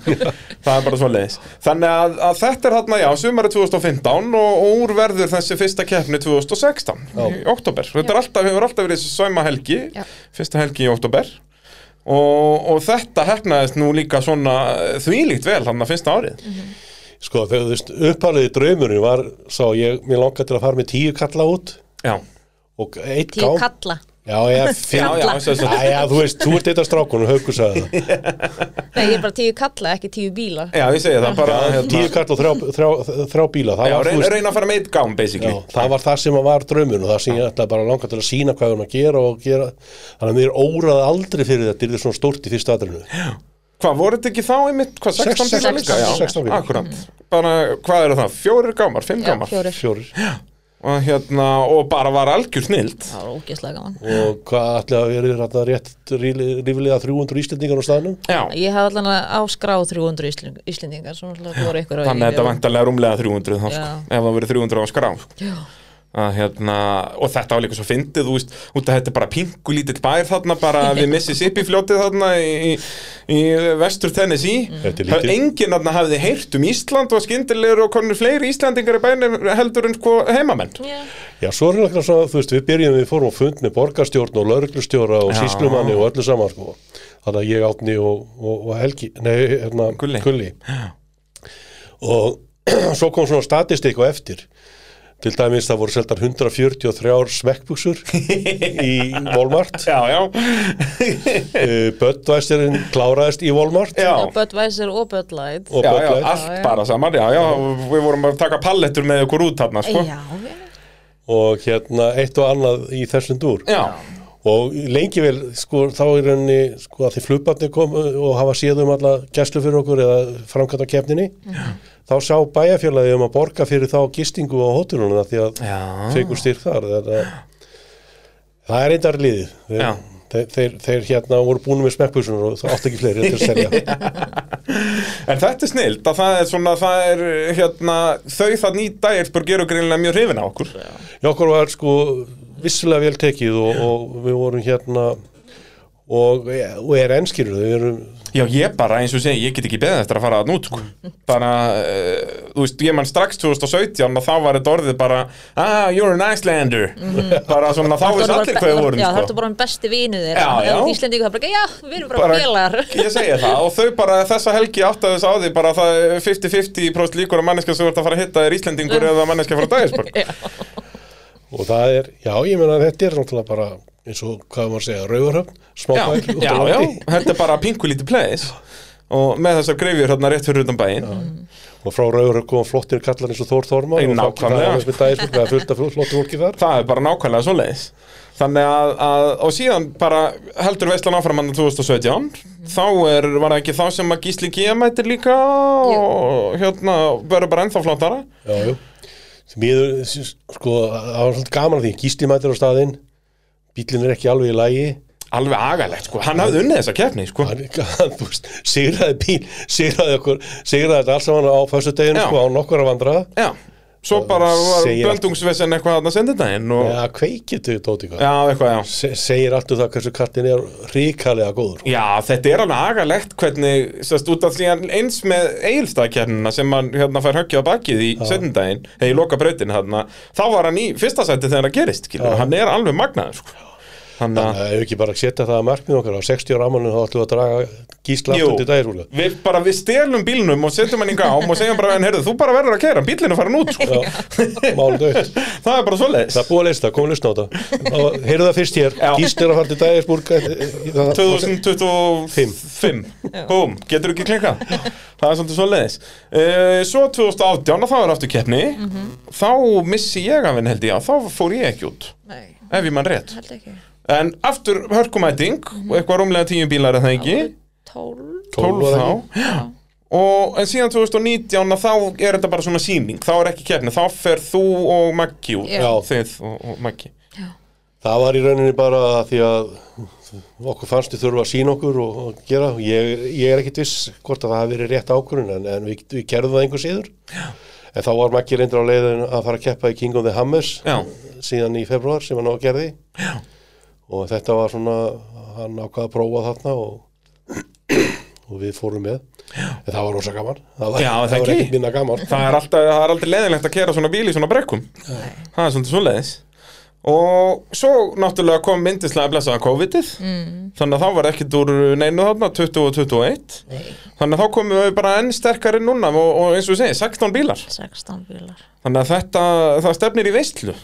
Það er bara svo leiðis Þannig að, að þetta er þarna, já, sumarið 2015 og, og úr verður þessi fyrsta keppni 2016 í oktober Þetta er alltaf, hefur alltaf verið þessi svæma helgi Já. Fyrsta helgi í oktober Og, og þetta hefnaðist nú líka svona eh, þvílíkt vel hann að fyrsta árið Mhm. Sko þegar þú veist upphæliði draumurinn var sá ég, mér langar til að fara með tíu kalla út Já, og eitt Tíu gám kalla Já, já, já, fyrir já, sem sagt- Já, já, þú veist, þú ert eitt af strákunum, Haukur sagði það Nei, ég er bara tíu kalla, ekki tíu bíla já, ég segi það bara Tíu hérna, kall og þrjá, þrjá, þrjá bíla það, Já, var, þú reyna, reyna að fara með eitt gám, basically já, það var það sem var draumurinn og það sem ég ætlaði bara langar til að sína hvað hann að gera og gera Þannig að mér óraði aldrei fyrir þetta, þetta er svona stórt í fyrsta aðrinu Hvað, voru þetta ekki þá einmitt, hvað, 16 Sex- bílar sex- líka? Já, 16 bílar. Akkurat, bara, hvað eru það, fjórir gámar, fimm Já, gámar fjórir Fjórir Og hérna, og bara var algjör snild Það var ógeðslega gaman Og hvað ætlaði að vera hérna rétt ríli- ríflega 300 íslendingar á staðnum Já, Ég hafði allan að áskrá 300 Ísling, Íslendingar Svo náttúrulega voru ykkur á þannig að þetta vantarlega rúmlega 300 þá, sko, Já. ef það verið 300 á skrá sko. Já, að, hérna, og þetta var líka svo fyndið þú veist, út að þetta er bara pingu lítill bær þarna, bara við Mississippi fljótið þarna í, í vestur Tennessee Mm. Þetta er Það- lítið. enginn þarna hafði heyrt um Ísland og skyndilegur og konur fleiri Íslandingar í bænum heldur en sko heimamenn já, Já, svo er náttúrulega svona, þú veist, við byrjum við fórum á fund með borgarstjórn og lauruglustjóra og Já. síslumanni og öllu saman, sko. Þannig að ég átni og, og, og Helgi, nei, hérna, Gulli. Og svo kom svona statistik á eftir. Til dæmis það voru seldar 143 smekkbuksur í Walmart. Já, já, Eh, Böttvæstirinn kláraðist í Walmart já Budweiser og Bud Light og já, já, Böttvæst. Já, allt já. bara saman, já, já, við vorum að taka pallettur með ykkur út þarna, sko. Já, já Og hérna eitt og annað í þessum dúr. Já, og lengi vel sko þá er henni sko að því flugbarnir komu og hafa séð um alla gæslu fyrir okkur eða framkvæmt á kefninni þá sá bæjarfélagi um að borga fyrir þá gistingu á hótelunum því að Já. fegur styrk þar þetta, það er eindar liðið þeir, Já. þeir, þeir, þeir hérna voru búin með smekkbúsunar og það átt ekki fleiri til að selja en þetta er snilt að það er svona, það er hérna, þau það nýta Eirsburg eru greinilega mjög hrifin á okkur. Já, okkur var sko vissulega vel tekið og, og við vorum hérna og, og er ennskýrur við erum Já, ég bara, eins og segi, ég get ekki beðið eftir að fara að nút, sko. Bara, uh, þú veist, ég mann strax 2017 og þá var þetta orðið bara, ah, you're an Icelander. Bara svona, þá veist allir hvað við vorum, Já, það sko. ertu Mhm. bara um besti vinu þeir Já, já. Íslendingu, það er bara, já, við erum bara félagar ég segja það og þau bara þessa helgi áttaðu þess á því bara að það er 50-50 próst líkur að manneska sem þú ert að fara að hitta er Íslendingur eða manneska frá Dægisborg og það er, já ég meina að þetta er náttúrulega bara eins og hvað maður segja, rauðarhöfn já, smábæl, út já, á já, landi þetta er bara pingu lítið place og með þessar greifjur hérna rétt fyrir utan bæinn og frá rauðarhöfn koma flottir kallar eins og Þór Þorma Nei, og þá kemur nákvæmlega. sko, það aðeins með dagir með fullt af flottir fólki þar það er bara nákvæmlega svo leiðis þannig að, að, og síðan bara heldur veistlan áfram hann 2017 Mhm. þá er, var það ekki þá sem að Gísli Gia mætir líka og hérna, verður bara ennþá flottara já, já. Mér, sko, það var svolítið gaman að því gísli mætir á staðinn bílinn er ekki alveg í lagi alveg agalegt, sko, hann hafði unnið þessa keppni, sko hann, hann þú veist, sigraði bíl sigraði okkur, sigraði þetta alls saman á föstudeginu Já. sko, á nokkura vandra já, svo bara var Segir allt. blöndungsvesen eitthvað þarna sendindaginn og eða kveikið til Tóti Karl já, eitthvað, já Se, segir allt um það hversu kattin er ríkalega góður Já, þetta er alveg agalegt hvernig, sérst, út af því að eins með eilstakernina sem hann hérna fær höggja á bakið í setjumdægin, eða í loka brautin hérna, þá var hann í fyrsta sæti þegar það gerist, skilur, hann er alveg magnaður, sko. Þannig að, Ef við ekki bara setja það að markmið okkar á 60 ára ammálinu þá ætlum við að draga gísla Jú. aftur til dæðrúlu við bara, við stelum bílnum og setjum hann í gám og segjum bara, en heyrðu, þú bara verður að kera, bílinn er farin út, sko. Mál dögt það er bara svoleiðis. Það er búið að leista, komum listna á þetta Og Heyrðu það fyrst hér, Já. gísla er að fara til eh, dæðisburg 2025 Búm, getur ekki klikkað Það er svolítið svo leiðis Svo 2018, þá er aftur keppni Þá missi ég af henni held ég að Þá fór ég ekki út, Nei, ef ég mann rétt held ekki En aftur hörkumæting Eitthvað rúmlega tíu bílar eða það ekki Tól 12 var þá það Já. Og en síðan 2019 að þá er þetta bara svona sýning, þá er ekki keppni, þá fer þú og Maggi út, Já. þið og, og Maggi. Það var í rauninni bara því að okkur fannst við þurfa að sína okkur og og gera, ég, ég er ekkit viss hvort að það hafi verið rétt ákvörun en, en við, við gerðum það einhvers yður en þá var Maggi reyndur á leiðin að fara að keppa í King of the Hammers Já, síðan í februar sem hann á að gerði Já. og þetta var svona hann ákvað að prófa þarna og, og við fórum með en það var rosa gaman það var, Já, það það var ekki. ekkit minna gaman það er, alltaf, það er aldrei leðilegt að kera svona bíl í svona brekkum það er svolítið svoleiðis og svo náttúrulega kom myndislega blessaða COVID-ið þannig að þá var ekkert úr neinu þarna 20 og 21 þannig að þá komum við bara enn sterkari núna og, og eins og við segjum, 16 bílar 16 bílar þannig að þetta, það stefnir í veistlu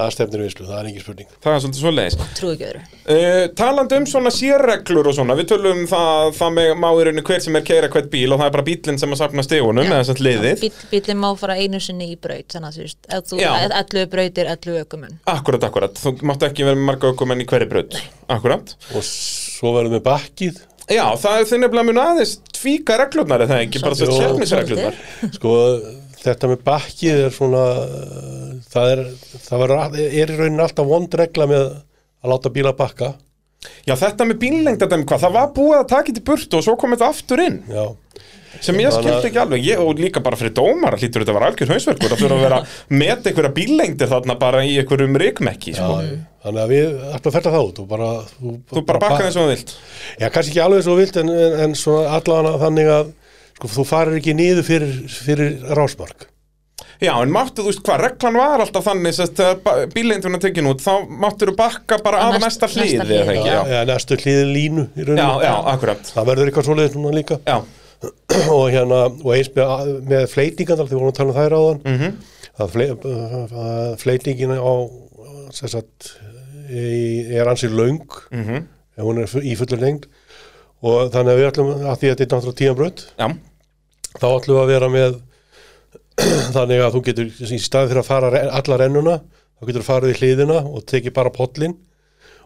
það stefnir viðslu, það er engin spurning það er svolítið svoleiðis Trú ekki öðru Uh, talandi um svona sérreglur og svona, við tölum um það, það með máirinu hver sem er keira hvert bíl og það er bara bílinn sem að safna stegunum eða þess að liðið. Bíl, Bílinn má fara einu sinni í braut Þannig að þú veist, ef þú Já. 11 brautir 11 ökumenn Akkurat, akkurat, þú mátt ekki vera með marga aukumenn í hverju braut Akkurat og svo verðum við bakkið Já, það er þið nefnilega mun aðeins tvíka reglurnar eða það ekki, bara þess Jú. kjærnisreglurnar Sko, þetta með bakkið er svona, uh, það er, það var, er í raunin alltaf vond regla með að láta bíla bakka, Já, þetta með bíllengd, þetta með hvað, það var búið að taka þetta í burtu og svo kom þetta aftur inn já. sem ég Þannig að- skildi ekki alveg, ég, og líka bara fyrir dómar hlýtur þetta var algjör hausverkur að þurfa að vera met einhverja bíllengdir þarna bara í einhverjum rikmekki, sko Þannig að við ætlum að fælla það út og bara... Þú, Þú bara bakka eins og þú vilt Já, kannski ekki alveg svo vilt en, en, en svona allavega þannig að sko, þú farir ekki niður fyrir, fyrir rásmark. Já, en máttu, þú veist hvað, reglan var alltaf þannig sem þegar bíllengdina tekin út, þá máttur þú bakka bara Á að næst- næsta næsta hlið, eða hlið. ekki, já. Eða næstu hliðin línu í Já, rauninni. já, akkurat Það verður eitthvað svoleiðis núna líka. Já, og hérna og eins með, með fleitingandar því við vorum að tala um þær áðan mm -hmm. Mhm. að, fle, að fleitingin á sem sagt í- er ansi löng Mhm. mm -hmm. ef hún er fu- í fullur lengd og þannig að við ætlum að því að þetta er náttúrulega tíðan brönd já, þá ætlum við að vera með þannig að þú getur í staði fyrir að fara re- alla rennuna þá getur þú farið í hliðina og tekið bara pollin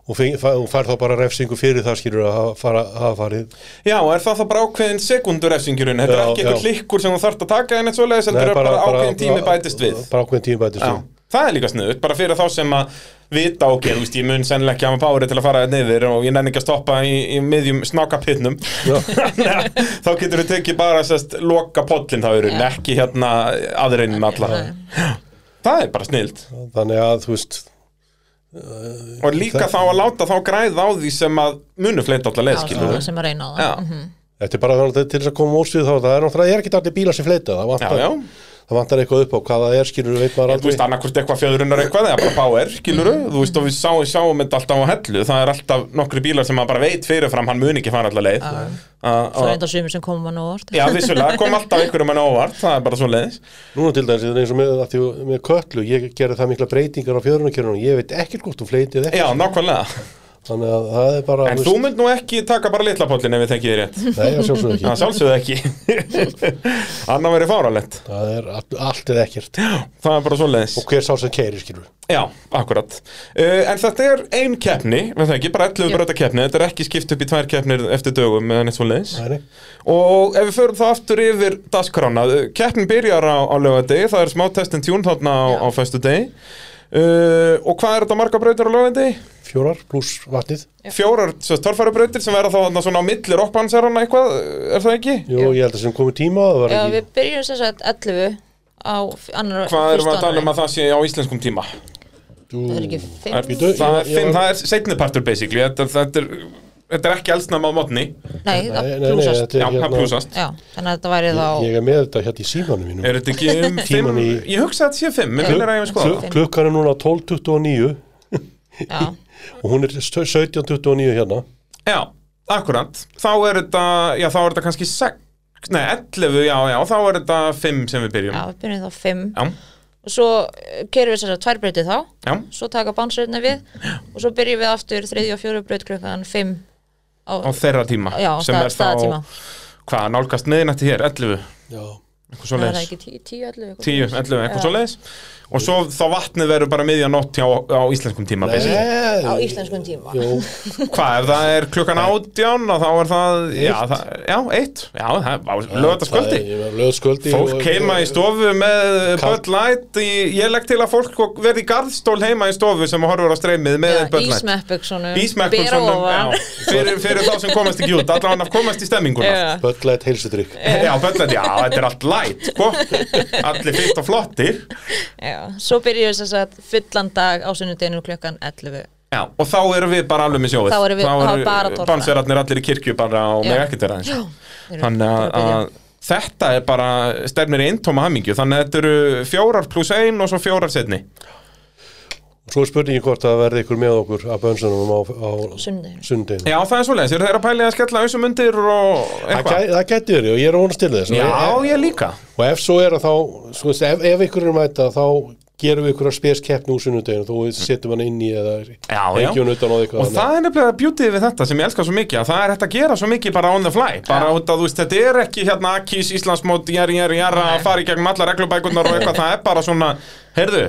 og feng- fa- og fær þá bara refsingu fyrir það skilur að hafa fara- hafa farið já, er það þá bara ákveðin sekundurefsingurinn, þetta er Já, ekki eitthvað já. klikkur sem þú þarft að taka en eitt svoleiðis, þetta Nei, er bara, ákveðin tími bætist við bara ákveðin tími bætist já. við það er líka sniðut, bara fyrir þá sem að vita, ok, þú veist, ég mun sennilega ekki hafa pári til að fara neyðir og ég nenni ekki að stoppa í, í miðjum snákapinnum þá getur þú tekið bara sest, loka pollin þá eru, Já. ekki hérna aðreinin alla Nei. Já. það er bara snilt þannig að þú veist og líka þá að láta þá græða á því sem að munu fleita alla leið, skilur Ástæðan sem að reyna á það Mhm. Já. þetta er bara þannig til þess að koma úrsvið þá það er náttúrulega, það er ekki allir bílar sem fleita það Já, vantar, já. það vantar eitthvað upp á hvað það er skilur veit maður þú aldrei veist annarkvort eitthvað fjöðrunar eitthvað eða bara power, skiluru, þú veist og við sá, sjáum þetta alltaf á hellu, það er alltaf nokkri bílar sem maður bara veit fyrirfram, hann mun ekki fara alla leið Ah, Það er ah. enda sumir sem koma nú orð Já, vissulega, kom alltaf einhverjum hann óvart, það er bara svo leiðis núna til dæmis, þetta er eins og með, að því, með köllu ég gerði það mikla breytingar á fjörunarkerunum ég veit ekkert hvort þú fleitið ekki Já, nákvæmlega, þannig að það er bara en þú mynd nú ekki taka bara litla pollin ef við tekið þér rétt nei, ég sjálfsög ekki Það sjálfsögðu ekki Anna verið fáralegt það er allt, allt eða ekkert Það er bara svo leiðis og hver sá sem keiri skilur Já, akkurat uh, En þetta er ein keppni, við það ekki, bara 11 Jú. bröta keppni Þetta er ekki skipt upp í tvær keppnir eftir dögum eða neitt svo leiðis Nei, nei. Og ef við förum þá aftur yfir dagskrána, eh, keppnin byrjar á, á lögadegi, það er smá test and tune þarna á, á föstu degi uh, Og hvað er þetta marga brautir á lögadegi? fjórar pluss vatnið Fjórar torfærubrautir sem verða þá þarna svona á milli rockbanserana eitthvað, er það ekki? Jú, ég held að sem komið tíma það var Já, ekki við byrjum sem sagt 11 á f- annar Hvað erum við að fyrstu tala um annarri. að það sé á íslenskum tíma? Jú. Það er ekki Er, fimm Bíddu, það, er ég- ég fimm, var- það er seinni partur basically Þetta, þetta, er, þetta er ekki eldsnama á mótni Nei, það Nei, nei, nei, plúsast þetta Já, er það hérna plusast Já, þannig að þetta væri Ég þá ég er með þetta hérna í símanum mínum Er þetta ekki um fimm? Tíman í- Ég hugsa að þetta sé fimm, mér sko? finnir að ég við skoða Klu- Klukkan er núna 12.29 Já, og hún er stö- 17.29 hérna það Já, akkurat Þá er þetta, já þá er þetta kannski sex Nei, 11, já, já, þá er þetta fimm sem við já, byrjum Já, við byrjum þá fimm já, og svo kerum við sér að tværbreytið þá já, svo taka bánsreitna við og svo byrjum við aftur þriðju og fjóru breyt klukkan fimm á, á þeirra tíma já, sem stað, er þá, staðatíma hvað, nálgast miðinætti hér, 11 Já, eitthvað Nei, svo það er leiðis ekki tí- tíu, ellu 10, 11, eitthvað svo leiðis og svo þá vatnið verður bara miðjanótt hjá á íslenskum tíma basically. á Nei, íslenskum tíma jú, Hvað, ef það er klukkan átján og þá er það, já, það, já, eitt Já, það var lögataskvöldi Löðaskvöldi Fólk heima í stofu með uh, Bud Light í, Ég legg til að fólk verði í garðstól heima í stofu sem horfur á streymið með Já, Bud Light Ísmeppugsunum Ísmekkum Bera ofan fyrir, fyrir þá sem komast ekki út allan að komast í stemminguna Já. Böllætt heilsudrykk Já, Bud Light, já, þetta er allt light, sko Allir fyrst og flottir Já, svo byrjum við þess að fullan dag á sunnudeginu klukkan 11 Já, og þá erum við bara alveg með sjóið Þá erum við- þá er bara torfæra. Bansverarnir allir í kirkju bara og Já. með ekkert vera eins Þeir eru Þannig að, bara byrja. að þetta er bara stefnir í eintóma hamingju Þannig að þetta eru fjórar pluss ein og svo fjórar setni Svo er spurningin hvort að verði ykkur með okkur að bönsunum á, á sunnudeginu sundin Já, það er svoleiðis, eru þeir að pæli að skella auðsum undir og Það eitthvað? gæ- það gæti verið og ég er ónast til þess Já, og, ég líka og ef svo er að þá svo, veist, ef, ef ykkur er mæta þá gerum við ykkur að speskeppni úr sunnudeginu þó við setjum hann inn í eða Já, já. ekki hún utan á því Og það er nefnilega beauty við þetta sem ég elska svo mikið að það er hægt að gera svo mikið bara on the fly bara út að þú veist, þetta er ekki hérna Akis, Íslandsmót, jæri, jæri, jæra að fara í gegnum alla reglubækurnar og eitthvað það er bara svona, heyrðu,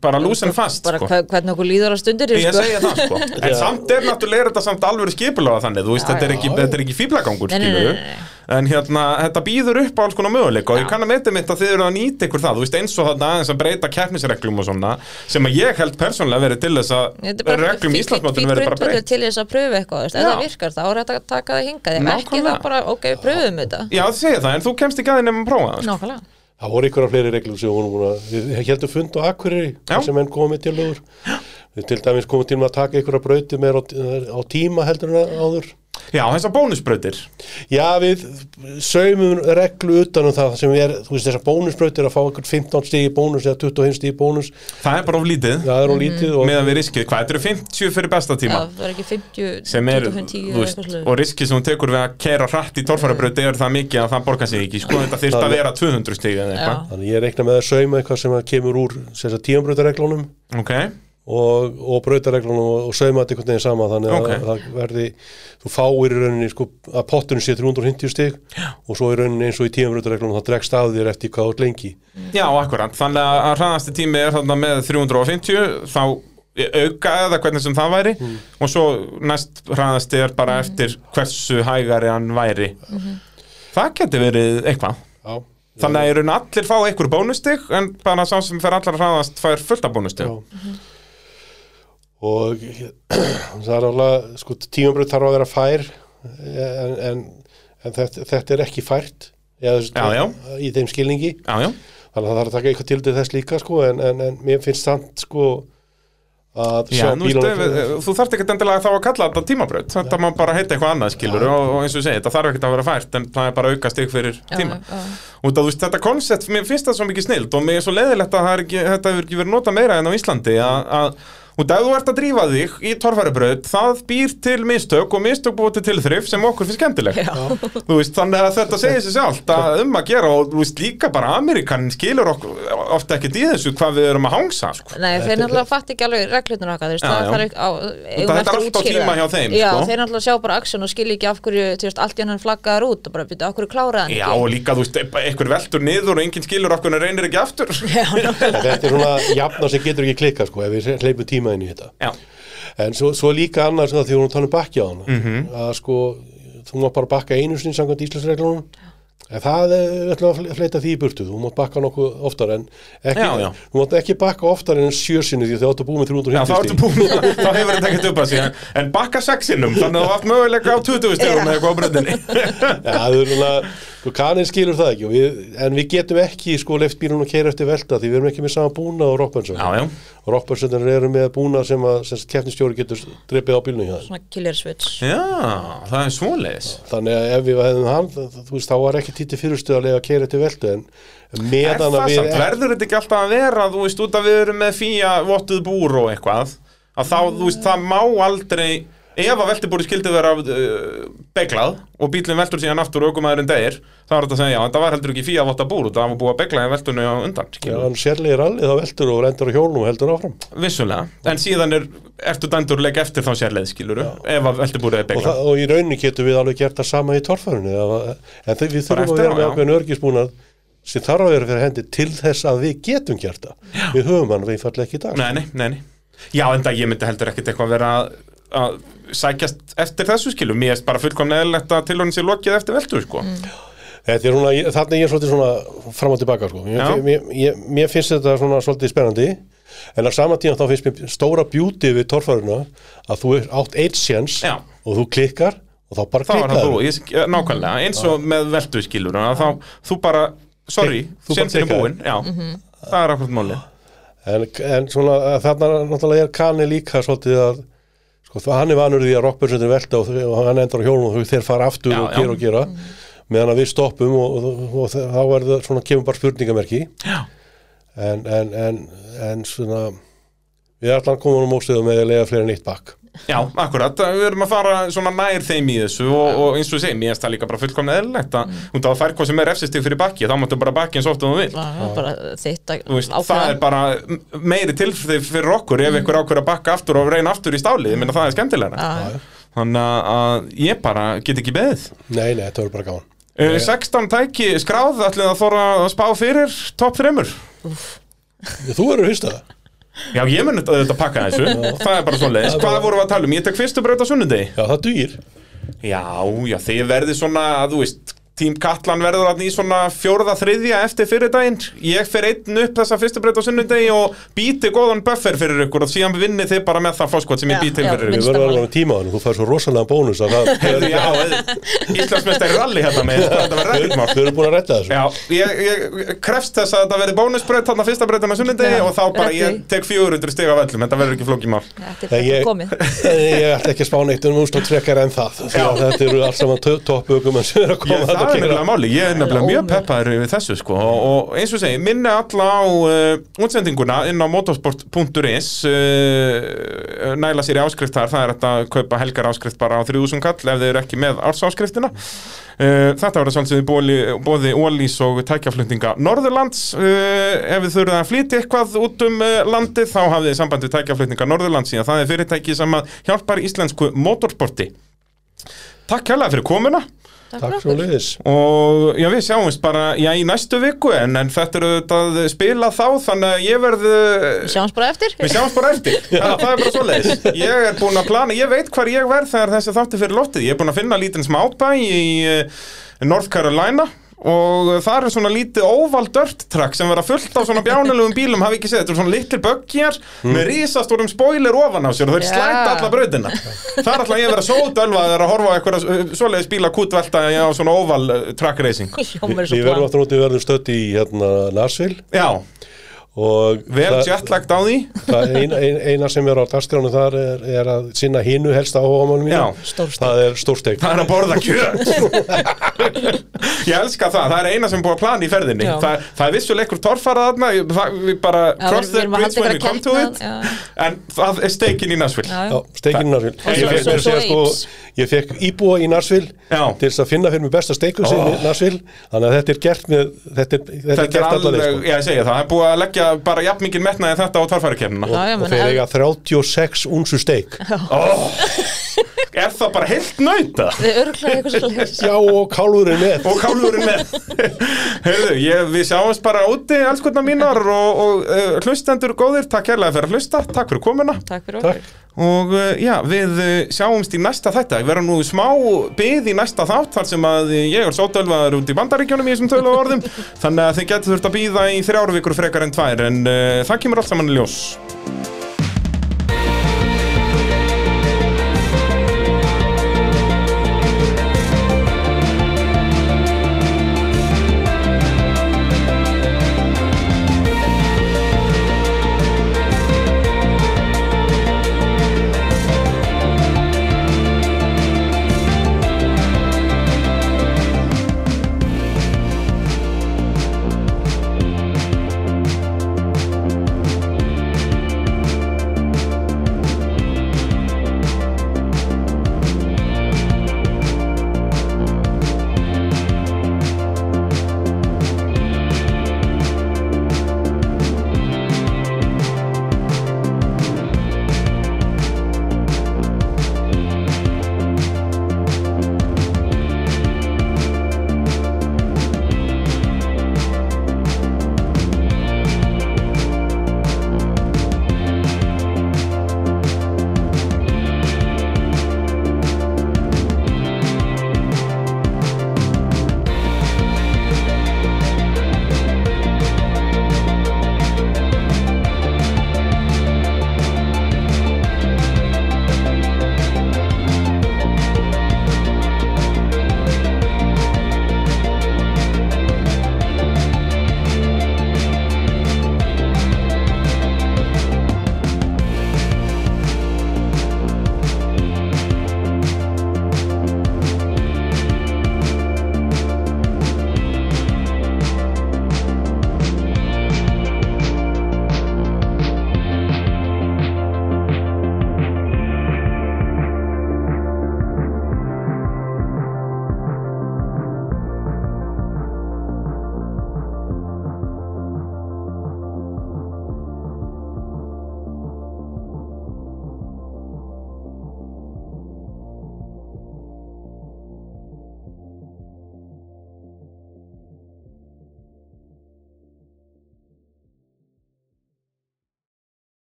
bara loose and fast bara sko. hve- hvernig okkur líður á stundir Ég sko. segja það sko En samt er náttúrulega er þetta samt alveg skipulega þannig Þú veist, Já, þetta er já. ekki, þetta er ekki fíblagangur Nei, nei, skilurðu. nei, nei, En hérna, þetta býður upp á alls konar möguleika Og ég kann að meti mitt að þið eru að nýta ykkur það Þú veist, eins og þarna aðeins að breyta keppnisreglum og svona Sem að ég held persónlega verið til þess Þetta að er bara Reglum í fínn- Íslandsmáttunum fínn verið bara grundvöllur breytt til þess að pröfu eitthvað, þú veist, ef Já. það virkar þá er þetta að taka það hingað, ef ekki Nákvæmlega. þá bara, ok, pröfum þetta Já, þið segja það, en þú kemst ekki aðeins nefnum að prófa það sko. Nákvæmlega Það voru ykkur af fleiri reglum sem hún búin að, við heldum fund á Akureyri, Já. þar sem menn komið með tillögur. Við til dæmis komum til með að taka ykkur að brauti með á, á tíma heldur en áður. Já, þessar bónusbrautir Já, við saumum reglu utan um það sem er, þú veist, þessar bónusbrautir að fá ykkur 15 stíði bónus eða 25 stíði bónus, Það er bara of lítið það er á lítið og Meðan við riskið, hvað þetta eru 50 fyrir besta Já, tíma það er ekki 50, sem er, 25, þú 10 veist, og riskið sem hún tekur við að kera hratt í torfærabröð er það mikið að það borgar sig ekki sko þetta þyrst að vera 200 stig eða eitthvað þannig ég reikna með að sauma eitthvað sem að kemur úr þessar tímanbrautareglunum ok, og, og brautareglunum og, og sauma þetta einhvern veginn sama þannig að Ok. að það verði, þú fáir í rauninni sko, að potturinn sé 350 stig og svo í rauninni eins og í tíum brautareglunum það dregst af þér eftir hvað átt lengi já akkurat þannig að- að hraðasti tími er þarna með 350 þá auka eða hvernig sem það væri Mm. og svo næst hraðasti er bara eftir hversu hægari hann væri það geti verið eitthvað Já, þannig að í raun allir fá einhver bónustig en bara sá sem fer allar hraðast fær fullta bónustig Já. og það er alveg, sko tíum braut þarf að vera fær en, en, en þetta, þetta er ekki fært eða, þú Já, veist, í þeim skilningi já, já, þannig að það þarf að taka eitthvað til til þess líka sko, en, en, en mér finnst samt sko að Já, sjá nú veist, bílunum ef, þú þarft ekkert endilega þá að kalla þetta tímabraut þetta má bara heita eitthvað annað skilur og, og eins og ég segi, þetta þarf ekkert að vera fært en það er bara auka stig fyrir tíma og það, veist, þetta koncept, mér finnst það svo mikið snild og mér er svo leiðilegt að það er ekki, þetta hefur ekki verið nota meira en á Íslandi að, að og ef þú ert að drífa þig í torfærubraut það býr til mistök og mistök búið til tilþrif sem okkur finnst skemmtileg Þú veist, þannig að þetta segir sér sjálft að um að gera og þú veist líka bara Amerikanin skilur okkur ofta ekkert í þessu hvað við erum að hangsa sko. Nei, þeir náttúrulega fatt ekki alveg reglutinu okkar, þú veist, Já, það já. þarf ekki á, þetta eigum er eftir að allt á útskýra tíma það. hjá þeim, Já, sko. þeir náttúrulega sjá bara aksjón og skilja ekki af hverju, þú veist, allt í hann flaggaðar út og bara byrja, af hverju kláraði hann Já, ekki? og líka, þú veist, e- einhver veldur niður og enginn skilur okkur en reynir ekki aftur Já, En þetta er svona jafna sem getur ekki klikkað sko ef við hleypum tíma inn í þetta já, en svo, svo líka annars því að því hún tala um bakki á hana Mhm. að sko þú mátt bara bakka einu sinni samkvæmt Íslandsreglunum en það er við ætlum að fle- fleyta því í burtu þú mátt bakka nokkuð oftar en ekki, Já, já. þú mátt ekki bakka oftar en sjö sinni því þú áttu að búið með 350 þá ertu stig. búin að- Þá hefur þetta ekkert upp að síðan En bakka sexinum, þannig að þú átt möguleika á 20 stegum eða eitthvað á bröndinni Já, það er svona, Sko kaninn skilur það ekki og við, en við getum ekki sko leift bílunum að keira eftir velta því við erum ekki með sama búna og rockbönnsönd Já, já. og rockbönnsöndir eru með búna sem að sem sagt, keppnistjóri getur drepið á bílunum hjá þeim svona killer switch Já, það er svoleiðis. þannig að ef við hefðum hann þ- þú veist þá var ekki títi fyrirstuð að leiða að keira eftir velta en Er meðan það að við samt, verður þetta ekki alltaf að vera, þú veist, út að við erum með fíja vottuð búr og eitthvað, að þá, þú veist, það má aldrei, ef að veltibúri skildi vera uh, beglað og bílinn veltur síðan aftur og aukumæðurinn degir, þá er þetta að segja, já, en það var heldur ekki fíja votta búr og það var búið að beglaði veltunni á undan, Já, skilur, hann sérlega er allir þá veltur og rendur á hjólnum og heldur áfram vissulega, en síðan er, ertu dændurleik eftir þá sérleið, skilur, ef að veltibúrið er og, beglað. það, og í rauninni getum við alveg gert það sama í torfærunni en þau, við Bara þurfum að eftir á, vera með já. ákveðin örgisbúnað sem þarf að vera fyrir hendi til þess að við getum gert það við höfum hann einfallega ekki í dag Nei, nei, nei, nei. Já, en það ég myndi heldur ekkit eitthvað vera að- að sækjast eftir þessu skilu. Mér er bara fullkomlega eðlilegt að tilhörnum sér lokið eftir veltu, sko. Mm. Þetta er svona, ég- þarna er ég svolítið svona fram og tilbaka sko. Já. mér, mér, ég- mér finnst þetta svona svolítið spennandi en á sama tíma þá finnst mér stóra beauty við torfæruna að þú er átt eitt séns Já. og þú klikkar og þá bara Það var það þú, klikkar ég, eh, nákvæmlega, eins og með veltu skilur, að þá, þú bara, sorry, Þú bara Mhm. sénsinn er tekur búinn, já, það er akkurat málið. en, en svona að þarna náttúrulega er kanni líka svolítið að sko, það- hann er vanur því að rockbjörnsundir velta og, þau- og hann endur á hjólunum og þau- þeir fara aftur Já, og já. gera og gera meðan að við stoppum og, og, og, og þá er það svona kemur bara spurningamerki Já. en, en, en, en svona við allan komum á móstuðum með að lega fleiri en eitt bakk Já, akkurat, við erum að fara svona nær þeim í þessu og, og eins og ég segi, mér er það líka bara fullkomlega eðlilegt að mm. það fær hvað sem er efsistig fyrir bakki, þá máttu bara bakki eins oft og þú vilt. bara, bara þitt að Þú veist, það er bara m- meiri tilfrið fyrir okkur ef ykkur ákveður að bakka aftur og reyna aftur í stálið, ég meina það er skemmtilegra bara þannig að- að ég bara get ekki beðið nei, nei, þetta verður bara gaman uh, 16 tæki skráð allir að þóra að spá fyrir topp 3 þú verður fyrst að það já ég mun auðvitað að pakka þessu það er bara svoleiðis, hvað vorum við að tala um, ég tek fyrstu braut á sunnudegi já, það dugir já, já, þið verði svona, þú veist Tím Katlan verður hann í svona fjórða þriðja eftir fyrir daginn. Ég fer einn upp þessa fyrstu breyta á sunnudegi og býti góðan buffer fyrir ykkur og síðan vinni þið bara með það fórskot sem ég Já, býti já, fyrir ykkur. við verðum alveg að tíma hann, þú fær svo rosalega bónus að það Heyrðu, já, auðvitað. Íslandsmeistari rally hérna með þetta var ræðmál þau eru búin að redda þessu Já, ég, ég krefst þess að þetta verði bónusbreyt þarna fyrsta breytan á sunnundegi Já, og þá bara rétt ég í. tek 400 stig af öllum, þetta verður ekki flókið mál þetta er Nei, bara ég- komið Ég ætla ekki að spá neitt um úst og trekkar en það því að þetta eru alls saman toppugum en sem eru að Ég, það koma þetta er að nefnilega kynna máli, ég er nefnilega mjög ómögulegt. peppaður yfir þessu sko og, og eins og segi, minni alla á uh, útsendinguna inn á motorsport.is uh, næla sér í áskrift þar, það er hægt að kaupa helgar áskrift bara á 3000 kall ef þið eru ekki með ársáskriftina uh, Þetta verður svolítið í bóli- bóði Ólís og tækjaflutninga Norðurlands uh, ef þið þurfið að flytja eitthvað út um uh, landið þá hafið þið samband við tækjaflutninga Norðurlands síðan það er fyrirtæki sem að hjálpar íslensku motorsporti Takk hérlega fyrir komuna Takk Takk fyrir svo okkur. leiðis og já við sjáumst bara já í næstu viku en, en þetta er auðvitað spila þá þannig að ég verð eh, Við sjáumst bara eftir við sjáumst bara eftir það, það er bara svoleiðis ég er búin að plana, ég veit hvar ég verð þegar þessi þátti fyrir loftið, ég er búin að finna lítinn smábæ í uh, North Carolina og það er svona lítið óval dirt track sem verða fullt á svona bjánulegum bílum hafi ekki séð, þetta eru svona litlir böggjar með risastórum spoiler ofan á sér og þeir Já. slæta alla brautina þar ætla ég að vera sódölvaður að horfa á eitthvað svoleiðis bíla kútvelta á svona óval eh, track racing Hljómar er Við svo verðum plan aftur út, við verðum stödd í hérna Nashville Já, og vel það- jetlagt á því það eina, ein- eina sem er á dagskránu þar er, er að sinna hinu helst áhugamálum Já. Stórsteik. það er stórsteik Það er að borða kjöt Ég elska það, það er eina sem er búið að plana í ferðinni Já. það, það er vissulega einhver torfarað þarna ég- það, Við bara Já, cross við- the við erum að bridge halda when we einhverja come to keppnað, it já. En það er steikin í Nashville Já, Já, já. steikinn í Nashville Og Ég svo- svo- fékk mér að svo segja sko, apes. ég fekk íbúa í Nashville Já. til þess að finna fyrir mig besta steikun sem í Nashville þannig að þetta er gert með þetta er, þetta er Þetta er gert allaveg sko. alveg, já ég segja það, það er búið að leggja bara jafn mikið metnaði en þetta á torfærukefnina Já, já, og menn, þeir ef- eiga 36 unsu steik Er það bara heilt nauta? Þið örglaði eitthvað svolítið já og kálfurinn með og kálfurinn með Heyrðu, ég, við sjáumst bara úti elskunna mínar og, og uh, hlustendur góðir, takk hérlega fyrir að hlusta takk fyrir komuna Takk fyrir okkur og uh, já, við uh, sjáumst í næsta þetta, ég verða nú í smá byð í næsta þátt þar sem að ég er sótölvaður út í bandaríkjónum í þessum tölu orðum eh, þannig að þið getur þurft að býða í þrjár vikur frekar en tvær en uh, það kemur allt saman í ljós